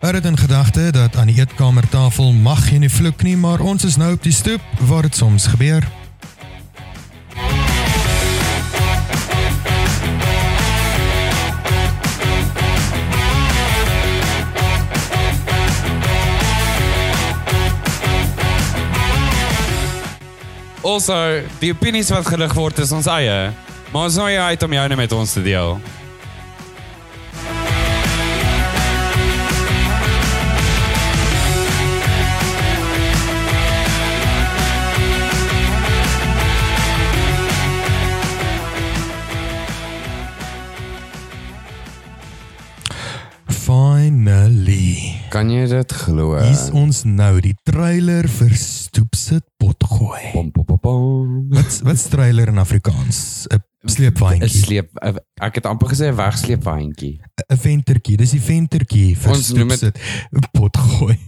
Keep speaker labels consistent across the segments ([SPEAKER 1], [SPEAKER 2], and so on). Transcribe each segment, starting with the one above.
[SPEAKER 1] hou dit in gedagte dat aan die eetkamertafel mag jy nie vloek nie, maar ons is nou op die stoep waar dit soms gebeur.
[SPEAKER 2] Also, die opinies wat gelig word is ons eie, maar ons nooi jou uit om joune met ons te deel.
[SPEAKER 1] Finally.
[SPEAKER 3] Kan jy dit glo?
[SPEAKER 1] Hier's ons nou die trailer vir Stoepsit potgooi.
[SPEAKER 3] Pom, pom, pom, pom.
[SPEAKER 1] Wat wat's trailer in Afrikaans? 'n Sleepwandjie.
[SPEAKER 3] 'n sleep
[SPEAKER 1] eh,
[SPEAKER 3] een- ek het amper gesê 'n wegsleepwandjie.
[SPEAKER 1] 'n ventertjie. Dis die ventertjie vir
[SPEAKER 3] Ons noem dit-
[SPEAKER 1] Stoepsit potgooi.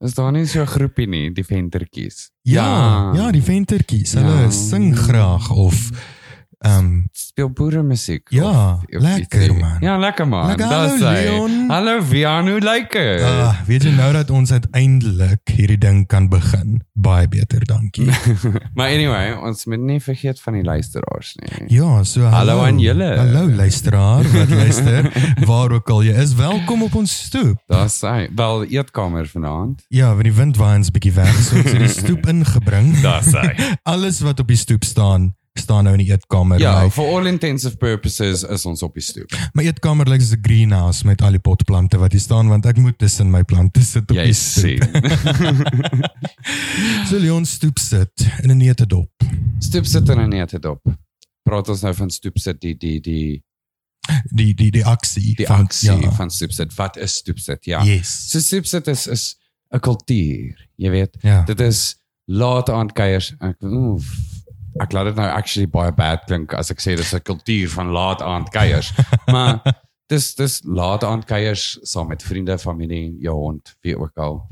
[SPEAKER 3] Is daar nie so 'n groepie nie, die ventertjies?
[SPEAKER 1] Ja, ja, die ventertjies. Hulle
[SPEAKER 3] Ja.
[SPEAKER 1] sing graag of ehm um,
[SPEAKER 3] speel boere musiek.
[SPEAKER 1] Ja, lekker,
[SPEAKER 3] ietsie.
[SPEAKER 1] man.
[SPEAKER 3] Ja, lekker man.
[SPEAKER 1] Lekker,
[SPEAKER 3] Dis
[SPEAKER 1] hallo,
[SPEAKER 3] hy.
[SPEAKER 1] Leon.
[SPEAKER 3] Hallo Vian, hoe lyk dit?
[SPEAKER 1] ah, weet jy nou dat ons uiteindelik hierdie ding kan begin. Baie beter, dankie.
[SPEAKER 3] Maar anyway, ons moet nie vergeet van die luisteraars nie.
[SPEAKER 1] Ja, so hallo,
[SPEAKER 3] Hallo aan julle.
[SPEAKER 1] Hallo luisteraar, wat luister, waar ook al jy is, welkom op ons stoep.
[SPEAKER 3] Daar's hy. Wel eetkamer vanaand.
[SPEAKER 1] Ja, want die wind waai ons bietjie weg, so ons het die stoep ingebring.
[SPEAKER 2] Daar's hy.
[SPEAKER 1] Alles wat op die stoep staan, staan nou in die eetkamer.
[SPEAKER 3] Ja,
[SPEAKER 1] Nou,
[SPEAKER 3] for all intensive purposes is ons op die stoep.
[SPEAKER 1] my eetkamer lyk soos 'n greenhouse met al die potplante wat hier staan want ek moet tussen my plante sit op
[SPEAKER 3] Jy
[SPEAKER 1] die stoep.
[SPEAKER 3] sien.
[SPEAKER 1] So Leon stoep sit in 'n netedop.
[SPEAKER 3] Stoep sit dan net dit op. Praat ons nou van stoep sit die die die
[SPEAKER 1] Die die die aksie
[SPEAKER 3] die aksie
[SPEAKER 1] ja.
[SPEAKER 3] van stoep sit. Wat is stoep sit? Ja.
[SPEAKER 1] Yes.
[SPEAKER 3] So stoep sit is is 'n kultuur, jy weet.
[SPEAKER 1] Ja.
[SPEAKER 3] Dit is laat aand kuiers. Ek oef, ek laat dit nou actually baie bad klink as ek sê dis 'n kultuur van laat aand kuiers. maar dis dis laat aand kuiers saam met vriende, familie, jou hond, wie ook al.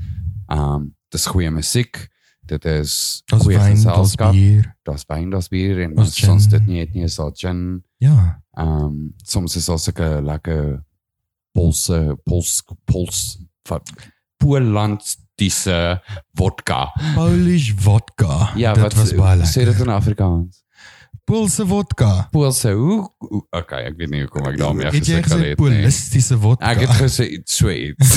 [SPEAKER 3] Ehm um, dis goeie musiek. Dit is
[SPEAKER 1] Ons
[SPEAKER 3] goeie
[SPEAKER 1] wyn, ons
[SPEAKER 3] geselskap.
[SPEAKER 1] bier.
[SPEAKER 3] Daar's wyn, daar's bier en
[SPEAKER 1] Daar's
[SPEAKER 3] as ons
[SPEAKER 1] gin.
[SPEAKER 3] dit nie het nie is daar gin.
[SPEAKER 1] Ja.
[SPEAKER 3] Ehm um, soms is daar sulke lekker Poolse Pools Pools van Poollandse vodka.
[SPEAKER 1] Polish vodka.
[SPEAKER 3] Ja,
[SPEAKER 1] dit
[SPEAKER 3] wat
[SPEAKER 1] was baie
[SPEAKER 3] sê dit
[SPEAKER 1] lekker.
[SPEAKER 3] in Afrikaans?
[SPEAKER 1] Poolse vodka.
[SPEAKER 3] Poolse hoe hoe- okay, ek weet nie hoe kom ek daarmee
[SPEAKER 1] het jy gesê
[SPEAKER 3] gesê het Ja, nie.
[SPEAKER 1] polistiese vodka?
[SPEAKER 3] Ek het gesê iets so iets.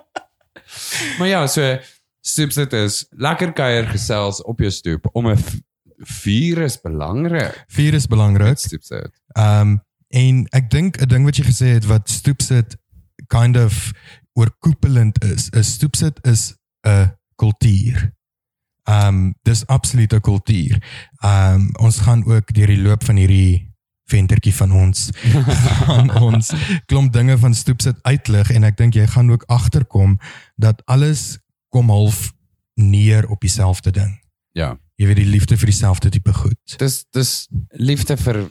[SPEAKER 3] maar ja, so stoep sit is lekker kuier gesels op jou stoep om 'n v- vuur is belangrik.
[SPEAKER 1] vier is belangrik.
[SPEAKER 3] Stoep sit.
[SPEAKER 1] Ehm um, en ek dink 'n ding wat jy gesê het wat stoepsit kind of oorkoepelend is, is stoepsit is 'n kultuur. Ehm um, dis absoluut 'n kultuur. Ehm um, ons gaan ook deur die loop van hierdie ventertjie van ons gaan ons klomp dinge van stoepsit uitlig en ek dink jy gaan ook agterkom dat alles kom half neer op dieselfde ding.
[SPEAKER 3] Ja.
[SPEAKER 1] Jy weet die liefde vir dieselfde tipe goed.
[SPEAKER 3] Dis dis liefde vir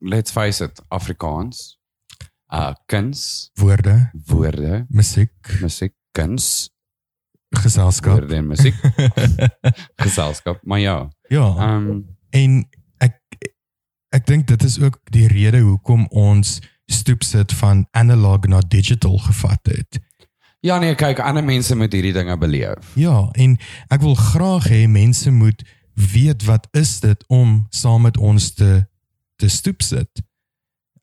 [SPEAKER 3] let's face it, Afrikaans. Uh kuns,
[SPEAKER 1] Woorde,
[SPEAKER 3] woorde,
[SPEAKER 1] musiek,
[SPEAKER 3] musiek, kuns,
[SPEAKER 1] geselskap.
[SPEAKER 3] woorde en musiek, geselskap. Maar ja,
[SPEAKER 1] ja,
[SPEAKER 3] ehm
[SPEAKER 1] en ek ek dink dit is ook die rede hoekom ons stoep sit van analog na digital gevat het.
[SPEAKER 3] ja nee, kyk, ander mense moet hierdie dinge beleef.
[SPEAKER 1] Ja, en ek wil graag hê mense moet weet wat is dit om saam met ons te te stoep sit.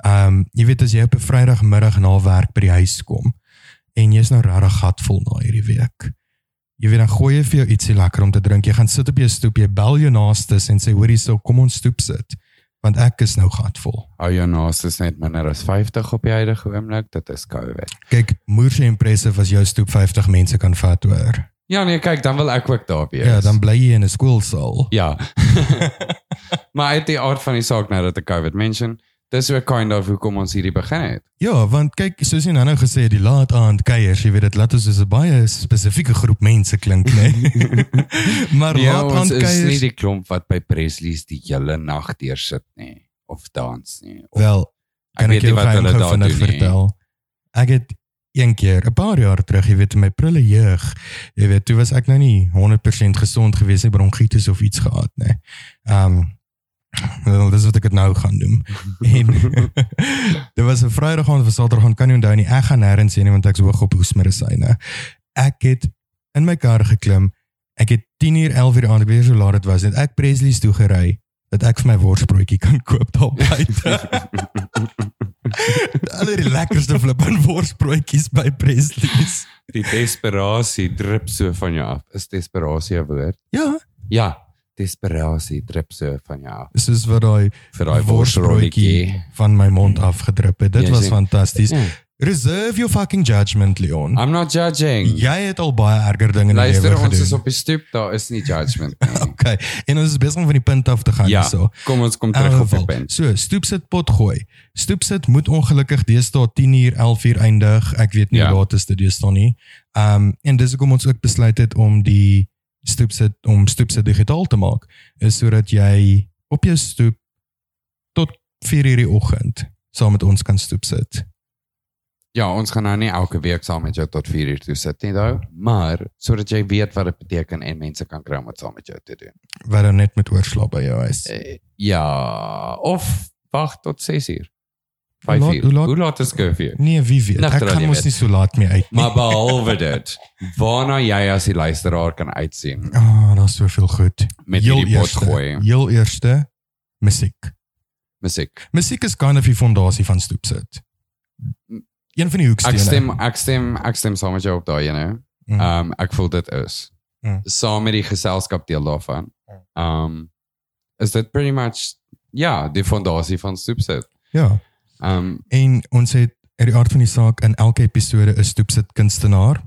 [SPEAKER 1] Ehm um, jy weet as jy op 'n Vrydagmiddag na werk by die huis kom en jy's nou regtig gatvol na hierdie week. Jy weet dan gooi jy vir jou ietsie lekker om te drink. Jy gaan sit op jou stoep, jy bel jou naastes en sê hoor hierso, kom ons stoep sit want ek is nou gatvol.
[SPEAKER 3] Hou jou naas is net minder as 50 op die huidige oomblik, dit is COVID.
[SPEAKER 1] Kyk, moeëse impressive as jou stoep 50 mense kan vat hoor.
[SPEAKER 3] Ja nee, kyk, dan wil ek ook daar wees.
[SPEAKER 1] Ja, dan bly jy in 'n skoolsaal.
[SPEAKER 3] ja. maar uit die aard van die saak nou dat ek COVID mention, dis ook kind of hoekom ons hierdie begin het.
[SPEAKER 1] Ja, want kyk, soos jy nou nou gesê het, die laat aand kuiers, jy weet dit laat ons soos 'n baie spesifieke groep mense klink, né? Nee? maar
[SPEAKER 3] Ja,
[SPEAKER 1] laat aand
[SPEAKER 3] ons is nie
[SPEAKER 1] kuiers
[SPEAKER 3] die klomp wat by Presley's die hele nag deursit nie of dans nie. Of,
[SPEAKER 1] wel, kan ek, ek
[SPEAKER 3] weet nie
[SPEAKER 1] jou
[SPEAKER 3] wat
[SPEAKER 1] geheim
[SPEAKER 3] hulle
[SPEAKER 1] gou
[SPEAKER 3] daar
[SPEAKER 1] vinnig
[SPEAKER 3] doen nie.
[SPEAKER 1] vertel. Ek het een keer, 'n paar jaar terug, jy weet in my prille jeug, jy weet, toe was ek nou nie 100% gesond gewees nie, bronkietes of iets gehad, né? Nee. Ehm um, Wel, dis wat ek dit nou gaan doen. En dit was 'n Vrydag aand of Saterdag aand kan nie onthou nie. Ek gaan nêrens heen nie, want ek's hoog op hoesmedisyne. Ek het in my kar geklim. Ek het 10 uur 11 uur aan, ek weet nie hoe laat dit was nie. Ek Presley's toe gery dat ek vir my worsbroodjie kan koop daar buite. Hulle het die lekkerste flippin worsbroodjies by Presley's.
[SPEAKER 3] Die desperasie drup so van jou af. Is desperasie 'n woord?
[SPEAKER 1] Ja,
[SPEAKER 3] Ja, desperasie drup so van jou af.
[SPEAKER 1] soos dus wat daai
[SPEAKER 3] Vir daai Mm.
[SPEAKER 1] worsbroodjie
[SPEAKER 3] worsrolletjie.
[SPEAKER 1] van my mond afgedrup het. Dit
[SPEAKER 3] Jy
[SPEAKER 1] was
[SPEAKER 3] sê-
[SPEAKER 1] fantasties.
[SPEAKER 3] Ja.
[SPEAKER 1] Reserve your fucking judgment, Leon.
[SPEAKER 3] I'm not judging.
[SPEAKER 1] Jy het al baie erger dinge in die lewe
[SPEAKER 3] Luister,
[SPEAKER 1] gedoen.
[SPEAKER 3] ons is op die stoep, daar is nie judgment nie.
[SPEAKER 1] Okay. En ons is besig om van die punt af te gaan
[SPEAKER 3] Ja,
[SPEAKER 1] hierso.
[SPEAKER 3] kom ons kom
[SPEAKER 1] In
[SPEAKER 3] terug op die
[SPEAKER 1] elk geval,
[SPEAKER 3] punt.
[SPEAKER 1] So, stoepsit pot gooi. Stoepsit moet ongelukkig deesdae 10 uur, 11 uur eindig. Ek weet nie
[SPEAKER 3] Ja.
[SPEAKER 1] hoe laat is dit deesdae nie. Ehm um, en dis hoekom ons ook besluit het om die stoepsit om stoepsit digitaal te maak, is sodat jy op jou stoep tot 4 uur die oggend saam met ons kan stoepsit.
[SPEAKER 3] Ja, ons gaan nou nie elke week saam met jou tot 4 uur toe sit nie, though, maar sodat jy weet wat dit beteken en mense kan kry om dit saam met jou te doen.
[SPEAKER 1] Wat dan net met oorslaap by jou huis.
[SPEAKER 3] Eh, Ja, of wag tot 6 uur. 5
[SPEAKER 1] Hoe laat-
[SPEAKER 3] uur.
[SPEAKER 1] hoe laat-
[SPEAKER 3] Hoe laat is curfew?
[SPEAKER 1] Nee, wie weet.
[SPEAKER 3] Nagter
[SPEAKER 1] Ek
[SPEAKER 3] al
[SPEAKER 1] gaan
[SPEAKER 3] die
[SPEAKER 1] mos
[SPEAKER 3] wet.
[SPEAKER 1] nie so laat mee uit nie.
[SPEAKER 3] Maar behalwe dit, waarna jy as die luisteraar kan uitsien
[SPEAKER 1] Ah, oh, daar's soveel goed.
[SPEAKER 3] met
[SPEAKER 1] Heel
[SPEAKER 3] hierdie pot
[SPEAKER 1] eerste-
[SPEAKER 3] gooi
[SPEAKER 1] Heel eerste musiek.
[SPEAKER 3] musiek.
[SPEAKER 1] Musiek is kind of die fondasie van Stoepsit. Een van die
[SPEAKER 3] Ek
[SPEAKER 1] hoekstene.
[SPEAKER 3] stem ek stem ek stem saam met jou op daai ene.
[SPEAKER 1] Mm.
[SPEAKER 3] Ehm ek voel dit is
[SPEAKER 1] Mm.
[SPEAKER 3] saam met die geselskap deel daarvan. Ehm is dit pretty much ja, die fondasie van Soepsit.
[SPEAKER 1] Ja.
[SPEAKER 3] Ehm um,
[SPEAKER 1] En ons het uit die aard van die saak in elke episode 'n Stoepsit kunstenaar.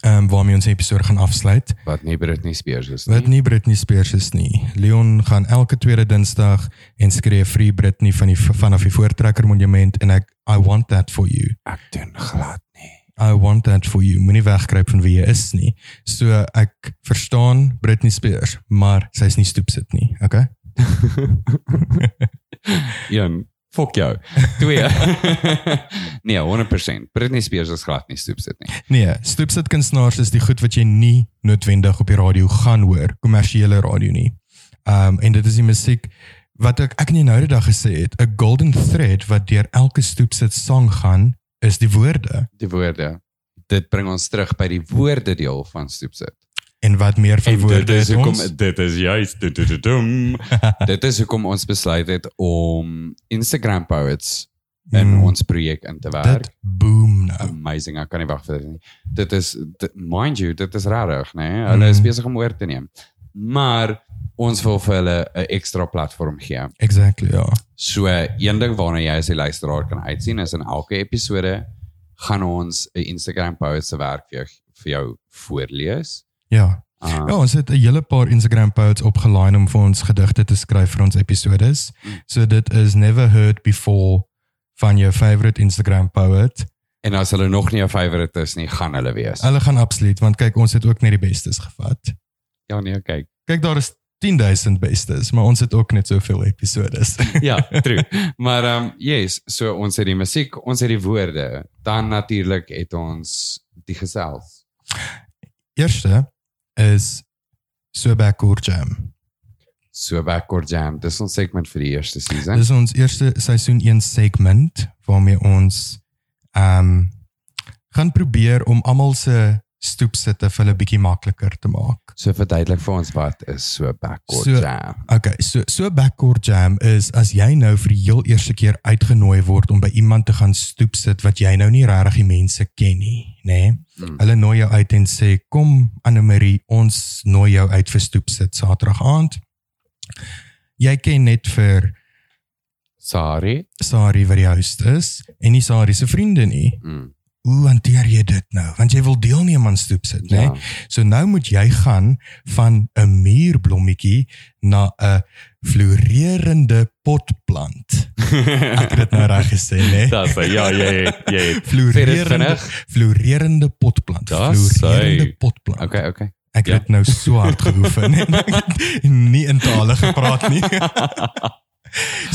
[SPEAKER 1] Ehm um, waarmee ons die episode gaan afsluit.
[SPEAKER 3] wat nie Britney Spears is
[SPEAKER 1] Wat
[SPEAKER 3] nie.
[SPEAKER 1] nie Britney Spears is nie. Leon gaan elke tweede Dinsdag en skree Free Britney van die vanaf die Voortrekker Monument en ek I want that for you.
[SPEAKER 3] Ek doen glad nie.
[SPEAKER 1] I want that for you. Moenie wegkruip van wie jy is nie. So ek verstaan Britney Spears, maar sy's nie stoep sit nie, okay?
[SPEAKER 3] Een Fok jou. Twee. nee, 100%. Britney Spears is glad nie Soepsit nie.
[SPEAKER 1] Nee, stoep sit kunstenaars is die goed wat jy nie noodwendig op die radio gaan hoor, kommersiële radio nie. Um en dit is die musiek wat ek ek nie nou die dag gesê het, 'n golden thread wat deur elke stoep sit sang gaan, is die woorde
[SPEAKER 3] Die woorde. Dit bring ons terug by die woorde deel van Soepsit.
[SPEAKER 1] en wat meer van woorde het ons.
[SPEAKER 3] dit is juist dit dit dum. dit is hoekom ons besluit het om Instagram poets in
[SPEAKER 1] Mm.
[SPEAKER 3] ons projek in te werk.
[SPEAKER 1] Dit boom nou.
[SPEAKER 3] Amazing, ek kan nie wag vir dit nie. Dit is dit, mind you, dit is rarig, né? Nee? Hulle is
[SPEAKER 1] Mm.
[SPEAKER 3] besig om oor te neem. Maar ons wil vir hulle 'n ekstra platform gee.
[SPEAKER 1] Exactly, ja.
[SPEAKER 3] So een ding waarna jy as die luisteraar kan uitsien is in elke episode gaan ons 'n Instagram post se werk vir jou, vir jou voorlees.
[SPEAKER 1] Ja.
[SPEAKER 3] Um,
[SPEAKER 1] Ja, ons het 'n hele paar Instagram posts opgelaai om vir ons gedigte te skryf vir ons episodes.
[SPEAKER 3] Mm.
[SPEAKER 1] So dit is Never Heard Before van jou favorite Instagram poet.
[SPEAKER 3] En as hulle nog nie 'n favourite is nie, gaan hulle wees.
[SPEAKER 1] Hulle gaan absoluut want kyk ons het ook net die bestes gevat.
[SPEAKER 3] Ja nee, kyk.
[SPEAKER 1] Kyk daar is 10000 bestes, maar ons het ook net soveel episodes.
[SPEAKER 3] Ja, true. maar ehm um, yes, so ons het die musiek, ons het die woorde, dan natuurlik het ons die gesels.
[SPEAKER 1] Eerste is Sobakor Jam.
[SPEAKER 3] So backward jam. Dis ons segment vir die eerste season.
[SPEAKER 1] Dis ons eerste seisoen 1 segment waarmee ons ehm um, gaan probeer om almal se stoepsitte vir hulle bietjie makliker te maak.
[SPEAKER 3] So verduidelik vir ons wat is so backward
[SPEAKER 1] So-
[SPEAKER 3] jam.
[SPEAKER 1] Okay, so so backcourt jam is as jy nou vir die heel eerste keer uitgenooi word om by iemand te gaan stoep sit wat jy nou nie regtig die mense ken nie, nê? Nee?
[SPEAKER 3] Mm.
[SPEAKER 1] Hulle nooi jou uit en sê kom Anne Marie, ons nooi jou uit vir stoep sit Saterdag aand. Jy ken net vir
[SPEAKER 3] Sorry.
[SPEAKER 1] Sari wat die host is en nie Sari se vriende nie.
[SPEAKER 3] Mm,
[SPEAKER 1] Hoe hanteer jy dit nou? Want jy wil deelneem aan stoep sit, nê? Nee?
[SPEAKER 3] ja.
[SPEAKER 1] So nou moet jy gaan van 'n muurblommetjie na 'n floreerende potplant. Ek het dit nou reg gesê, né?
[SPEAKER 3] Dis ja, ja, ja, ja. Verder
[SPEAKER 1] Floreerende
[SPEAKER 3] vinnig.
[SPEAKER 1] floreerende potplant.
[SPEAKER 3] Das sy.
[SPEAKER 1] Floreerende potplant.
[SPEAKER 3] Okay, ja. okay.
[SPEAKER 1] Ek het nou so hard geoefen en ek het nie in tale gepraat nie.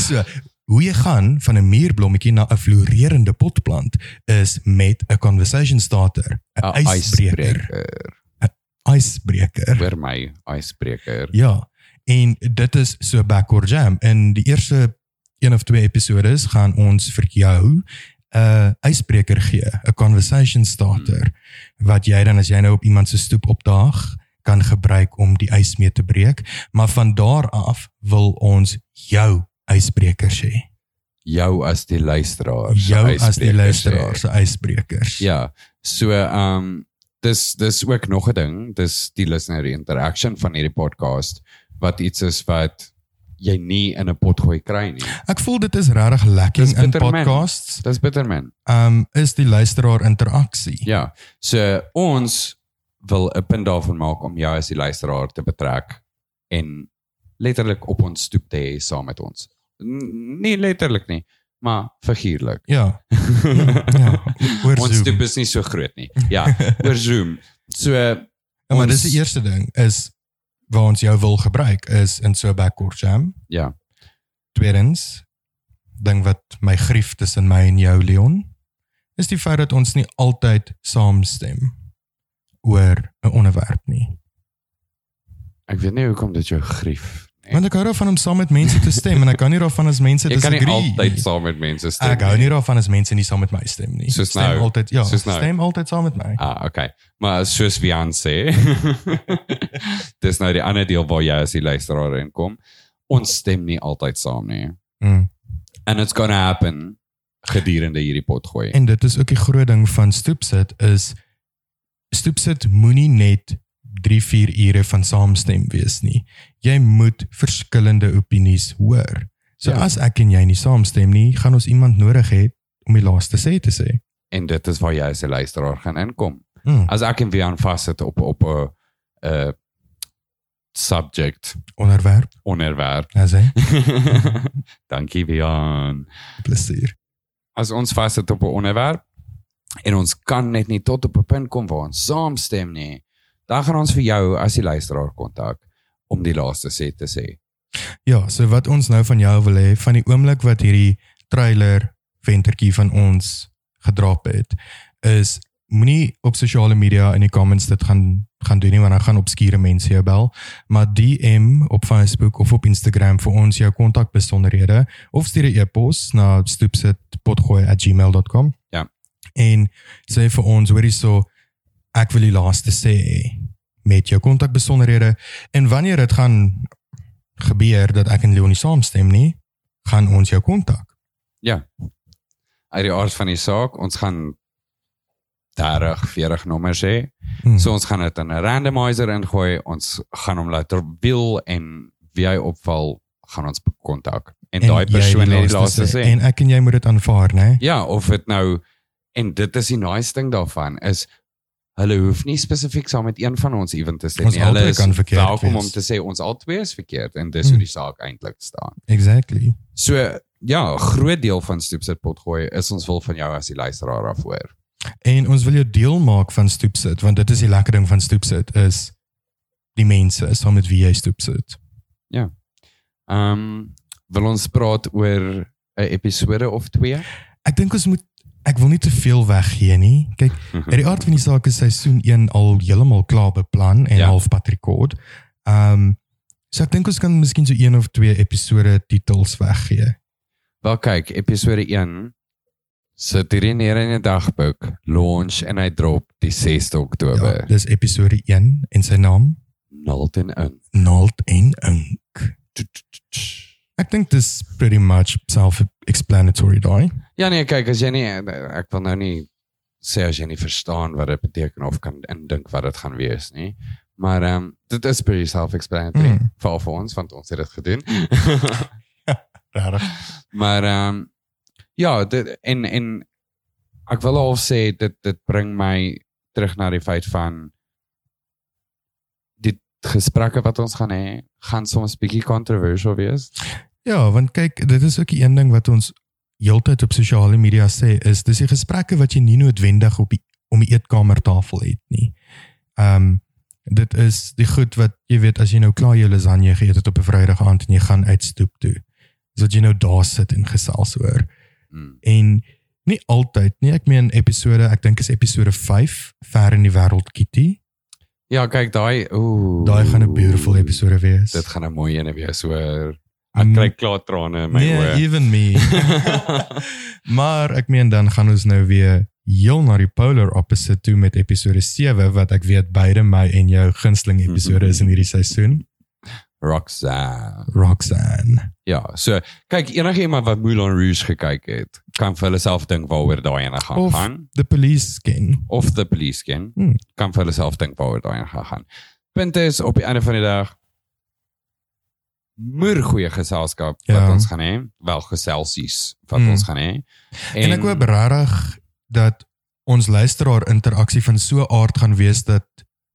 [SPEAKER 1] so, hoe jy gaan van 'n muurblommetjie na 'n floreerende potplant is met 'n conversation starter, 'n
[SPEAKER 3] Ah,
[SPEAKER 1] ijsbreker,
[SPEAKER 3] Icebreaker.
[SPEAKER 1] ijsbreker.
[SPEAKER 3] Weer my icebreaker.
[SPEAKER 1] Ja, En dit is so backward jam. In die eerste een of twee episodes gaan ons vir jou 'n uitspreker gee, 'n conversation starter
[SPEAKER 3] Hmm.
[SPEAKER 1] wat jy dan as jy nou op iemand se stoep opdaag kan gebruik om die ys mee te breek, maar van daar af wil ons jou uitsprekers hê.
[SPEAKER 3] jou as die luisteraar. se
[SPEAKER 1] Jou as die
[SPEAKER 3] ysbrekers,
[SPEAKER 1] luisteraar se uitsprekers.
[SPEAKER 3] hè. Ja. So ehm dis dis ook nog 'n ding, dis die listener interaction van hierdie podcast wat iets is wat jy nie in 'n pot gooi kry nie.
[SPEAKER 1] Ek voel dit is regtig lekking
[SPEAKER 3] Dis
[SPEAKER 1] in
[SPEAKER 3] bitter min.
[SPEAKER 1] podcasts.
[SPEAKER 3] Dis bitter man.
[SPEAKER 1] Ehm is die luisteraar interaksie.
[SPEAKER 3] Ja. So ons wil 'n punt daarvan maak om jou as die luisteraar te betrek en letterlik op ons stoep te hê saam met ons. N nie letterlik nie, maar figuurlik.
[SPEAKER 1] Ja. ja. Oor
[SPEAKER 3] Ons
[SPEAKER 1] Zoom.
[SPEAKER 3] stoep is nie so groot nie. Ja, oor Zoom. So
[SPEAKER 1] Ja, maar dis
[SPEAKER 3] ons-
[SPEAKER 1] die eerste ding is waar ons jou wil gebruik is in so 'n backward jam.
[SPEAKER 3] Ja.
[SPEAKER 1] Tweedens ding wat my grief tussen my en jou Leon is die feit dat ons nie altyd saamstem oor 'n onderwerp nie.
[SPEAKER 3] Ek weet nie hoekom dit jou grief. Nee.
[SPEAKER 1] Want ek hou daarvan om saam met mense te stem en ek hou nie daarvan as mense
[SPEAKER 3] Jy kan nie
[SPEAKER 1] disagree.
[SPEAKER 3] altyd saam met mense stem.
[SPEAKER 1] Ek hou nie daarvan as mense nie saam met my stem nie.
[SPEAKER 3] Soos
[SPEAKER 1] stem
[SPEAKER 3] nou.
[SPEAKER 1] altyd ja,
[SPEAKER 3] Soos nou.
[SPEAKER 1] stem altyd saam met my.
[SPEAKER 3] Ah, okay. Maar soos Vian sê, dis nou die ander deel waar jy as die luisteraar inkom. Ons stem nie altyd saam nie.
[SPEAKER 1] Mm.
[SPEAKER 3] And it's going to happen gedurende hierdie potgooi.
[SPEAKER 1] En dit is ook die groot ding van stoepsit is stoepsit moenie net 3-4 ure van saamstem wees nie. Jy moet verskillende opinies hoor. So
[SPEAKER 3] Ja.
[SPEAKER 1] ja. as ek en jy nie saamstem nie, gaan ons iemand nodig hê om die laaste sê te sê.
[SPEAKER 3] En dit is waar jy as 'n luisteraar gaan inkom.
[SPEAKER 1] Mm,
[SPEAKER 3] As ek en Vian vassit op op 'n uh subject
[SPEAKER 1] onderwerp,
[SPEAKER 3] onderwerp.
[SPEAKER 1] as hy
[SPEAKER 3] Dankie Vian.
[SPEAKER 1] plesier.
[SPEAKER 3] as ons vassit op 'n onderwerp en ons kan net nie tot op 'n punt kom waar ons saamstem nie, dan gaan ons vir jou as die luisteraar kontak om die laaste sê te sê.
[SPEAKER 1] Ja, so wat ons nou van jou wil hê van die oomblik wat hierdie trailer ventertjie van ons gedrap het is moenie op sosiale media in die comments dit gaan gaan doen nie want dan gaan obskure mense jou bel maar DM op Facebook of op Instagram vir ons jou kontakbesonderhede of stuur 'n e-pos na stoepsitpotgooi@gmail.com
[SPEAKER 3] Ja.
[SPEAKER 1] en sê vir ons hoor hierso ek wil die laaste sê hê met jou kontakbesonderhede en wanneer dit gaan gebeur dat ek en Leonie saamstem nie, gaan ons jou kontak.
[SPEAKER 3] Uit die aard van die saak, ons gaan 30, 40 nommers hê.
[SPEAKER 1] Hmm.
[SPEAKER 3] So ons gaan dit in 'n randomizer ingooi. Ons gaan hom laat wiel en wie hy opval, gaan ons kontak. En, en daai
[SPEAKER 1] jy
[SPEAKER 3] persoon het die laaste sê.
[SPEAKER 1] En ek en jy moet dit aanvaar, né?
[SPEAKER 3] Ja, of dit nou en dit is die nice ding daarvan is hulle hoef nie spesifiek saam met een van ons ewen te sê
[SPEAKER 1] Ons
[SPEAKER 3] nie. Hulle
[SPEAKER 1] albei
[SPEAKER 3] is
[SPEAKER 1] kan verkeerd
[SPEAKER 3] welkom
[SPEAKER 1] wees.
[SPEAKER 3] om te sê ons al twee is verkeerd en
[SPEAKER 1] Hmm.
[SPEAKER 3] dis hmm. hoe die saak eintlik staan.
[SPEAKER 1] Exactly.
[SPEAKER 3] So ja, 'n groot deel van Stoepsit potgooi is ons wil van jou as die luisteraar af hoor.
[SPEAKER 1] En ons wil jou deel maak van stoepsit want dit is die lekker ding van stoepsit is die mense saam met wie jy stoepsit.
[SPEAKER 3] Ehm um, wil ons praat oor 'n episode of twee?
[SPEAKER 1] Ek dink ons moet ek wil nie te veel weggee nie. Kyk,
[SPEAKER 3] Mhm.
[SPEAKER 1] uit die aard van die saak is seisoen 1 al heeltemal klaar beplan en
[SPEAKER 3] Ja.
[SPEAKER 1] ja. halfpad rekord. Ehm um, so ek dink ons kan miskien so een of twee episode titels weggee.
[SPEAKER 3] Wel kyk, episode 1 sit hierdie neer in 'n dagboek, launch en hy drop die 6de
[SPEAKER 1] Ja,
[SPEAKER 3] Oktober. Ja.
[SPEAKER 1] dis episode 1 en sy naam
[SPEAKER 3] Nalten in.
[SPEAKER 1] naald en ink. Ek dink dis pretty much self-explanatory daai.
[SPEAKER 3] Ja nee, kyk, as jy nie ek wil nou nie sê as jy nie verstaan wat dit beteken of kan indink wat dit gaan wees nie. Maar ehm um, dit is pretty self-explanatory
[SPEAKER 1] Mm.
[SPEAKER 3] mm. vir vir ons want ons het dit gedoen.
[SPEAKER 1] Regtig.
[SPEAKER 3] maar ehm um, ja, dit en en ek wil al sê dit dit bring my terug na die feit van die gesprekke wat ons gaan hê, gaan soms bietjie controversial wees.
[SPEAKER 1] Ja, want kyk, dit is ook die een ding wat ons heeltyd op sosiale media sê is dis die gesprekke wat jy nie noodwendig op die om die eetkamertafel het nie. Ehm um, dit is die goed wat jy weet as jy nou klaar jou lasagne geëet het op 'n Vrydag aand en jy gaan uitstoep toe. Dis wat jy nou daar sit en gesels oor.
[SPEAKER 3] Mm.
[SPEAKER 1] en nie altyd nie. Ek meen episode, ek dink is episode 5 ver in die wêreld Kitty
[SPEAKER 3] Ja, kyk daai, ooh.
[SPEAKER 1] Daai gaan 'n beautiful episode wees.
[SPEAKER 3] Dit gaan 'n mooi een wees hoor.
[SPEAKER 1] Mm.
[SPEAKER 3] Ek kry klaar trane in my
[SPEAKER 1] nee,
[SPEAKER 3] oë.
[SPEAKER 1] even me. maar ek meen dan gaan ons nou weer heel na die polar opposite toe met episode 7 wat ek weet beide my en jou gunsteling episode is in hierdie seisoen.
[SPEAKER 3] Roxanne.
[SPEAKER 1] Roxanne.
[SPEAKER 3] Ja, so kyk enige iemand wat Moulin Rouge gekyk het, kan vir hulle self dink waaroor daai ene gaan
[SPEAKER 1] Of-
[SPEAKER 3] gaan.
[SPEAKER 1] The police skin.
[SPEAKER 3] of the police ken,
[SPEAKER 1] Hmm.
[SPEAKER 3] kan vir hulle self dink waaroor daai gaan gaan. Punt is op die einde van die dag moer goeie geselskap wat
[SPEAKER 1] Ja.
[SPEAKER 3] ons gaan hê, wel geselsies wat
[SPEAKER 1] Hmm.
[SPEAKER 3] ons gaan hê.
[SPEAKER 1] En, en ek hoop regtig dat ons luisteraar interaksie van so 'n aard gaan wees dat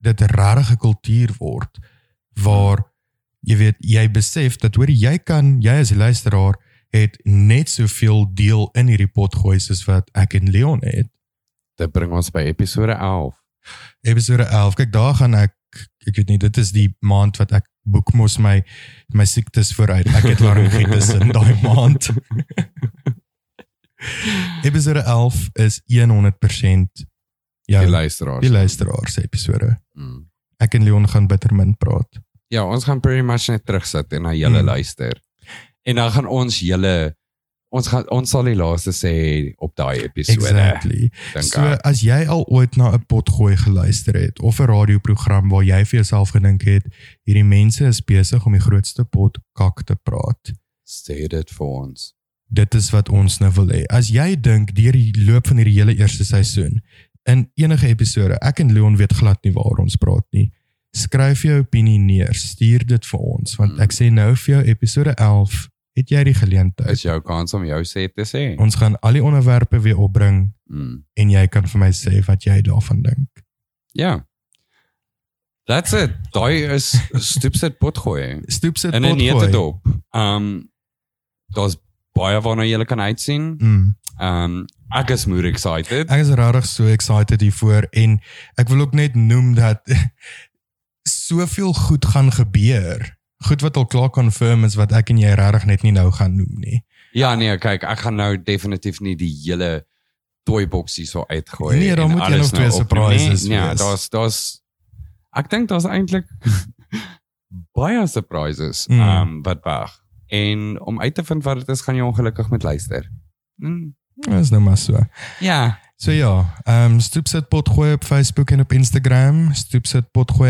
[SPEAKER 1] dit regtig 'n kultuur word waar jy weet jy besef dat hoor jy kan jy as die luisteraar het net soveel deel in hierdie pot gooi soos wat ek en Leon het.
[SPEAKER 3] dit bring ons by episode 11.
[SPEAKER 1] Episode 11. Kyk daar gaan ek ek weet nie dit is die maand wat ek boek mos my my siektes vooruit. Ek het laringitis in daai maand. Episode 11 is 100% jou
[SPEAKER 3] Die
[SPEAKER 1] die,
[SPEAKER 3] luisteraars.
[SPEAKER 1] die luisteraar se episode.
[SPEAKER 3] Hmm.
[SPEAKER 1] Ek en Leon gaan bitter min praat.
[SPEAKER 3] Ja, ons gaan pretty much net terugsit en na julle
[SPEAKER 1] Hmm.
[SPEAKER 3] luister. En dan gaan ons julle ons gaan ons sal die laaste sê op daai episode.
[SPEAKER 1] Exactly.
[SPEAKER 3] dink
[SPEAKER 1] So
[SPEAKER 3] ek.
[SPEAKER 1] as jy al ooit na 'n potgooi geluister het of 'n radioprogram waar jy vir jouself gedink het hierdie mense is besig om die grootste pot kak te praat.
[SPEAKER 3] Sê dit vir ons.
[SPEAKER 1] dit is wat ons nou wil hê. As jy dink deur die loop van hierdie hele eerste seisoen in enige episode, ek en Leon weet glad nie waar ons praat nie. Skryf jou opinie neer, stuur dit vir ons
[SPEAKER 3] Hmm.
[SPEAKER 1] want ek sê nou vir jou episode 11, het jy die geleentheid.
[SPEAKER 3] Is jou kans om jou sê te sê.
[SPEAKER 1] Ons gaan al die onderwerpe weer opbring
[SPEAKER 3] Mm.
[SPEAKER 1] en jy kan vir my sê wat jy daarvan dink.
[SPEAKER 3] Ja. That's it. Daai is stupset potgooi.
[SPEAKER 1] Stoep sit
[SPEAKER 3] In 'n
[SPEAKER 1] potgooi.
[SPEAKER 3] netedop. Um daar's baie waarna jy kan uitsien.
[SPEAKER 1] Mm.
[SPEAKER 3] Um ek is moer excited.
[SPEAKER 1] Ek is regtig so excited hiervoor en ek wil ook net noem dat soveel goed gaan gebeur. Goed wat al klaar confirm is wat ek en jy regtig net nie nou gaan noem nie.
[SPEAKER 3] Ja nee, kyk, ek gaan nou definitief nie die hele toy box hierso uitgooi
[SPEAKER 1] Nee, daar
[SPEAKER 3] en
[SPEAKER 1] moet een
[SPEAKER 3] alles nou
[SPEAKER 1] of twee
[SPEAKER 3] opnoem nie.
[SPEAKER 1] surprises
[SPEAKER 3] Ja,
[SPEAKER 1] wees.
[SPEAKER 3] daar's daar's ek dink daar's eintlik baie surprises
[SPEAKER 1] Mm.
[SPEAKER 3] um wat wag. En om uit te vind wat dit is, gaan jy ongelukkig met luister. Mm.
[SPEAKER 1] Dis nou maar so.
[SPEAKER 3] Ja.
[SPEAKER 1] So ja, ehm um, stoepsitpotgooi op Facebook en op Instagram,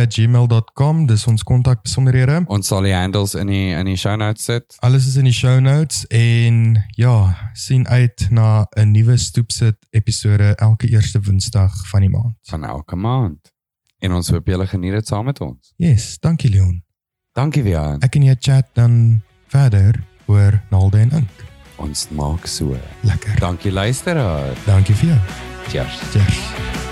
[SPEAKER 1] stoepsitpotgooi@gmail.com, dis ons kontakbesonderhede.
[SPEAKER 3] Ons sal die handles in die in die show notes sit.
[SPEAKER 1] Alles is in die show notes en ja, sien uit na 'n nuwe stoepsit episode elke eerste Woensdag van die maand.
[SPEAKER 3] van elke maand. En ons hoop julle geniet dit saam met ons.
[SPEAKER 1] Yes, dankie Leon.
[SPEAKER 3] Dankie weer aan.
[SPEAKER 1] Ek en jy chat dan verder oor naalde en ink.
[SPEAKER 3] Ons maak so.
[SPEAKER 1] Lekker.
[SPEAKER 3] Dankie luisteraar.
[SPEAKER 1] Dankie vir jou.
[SPEAKER 3] Cheers.
[SPEAKER 1] Cheers.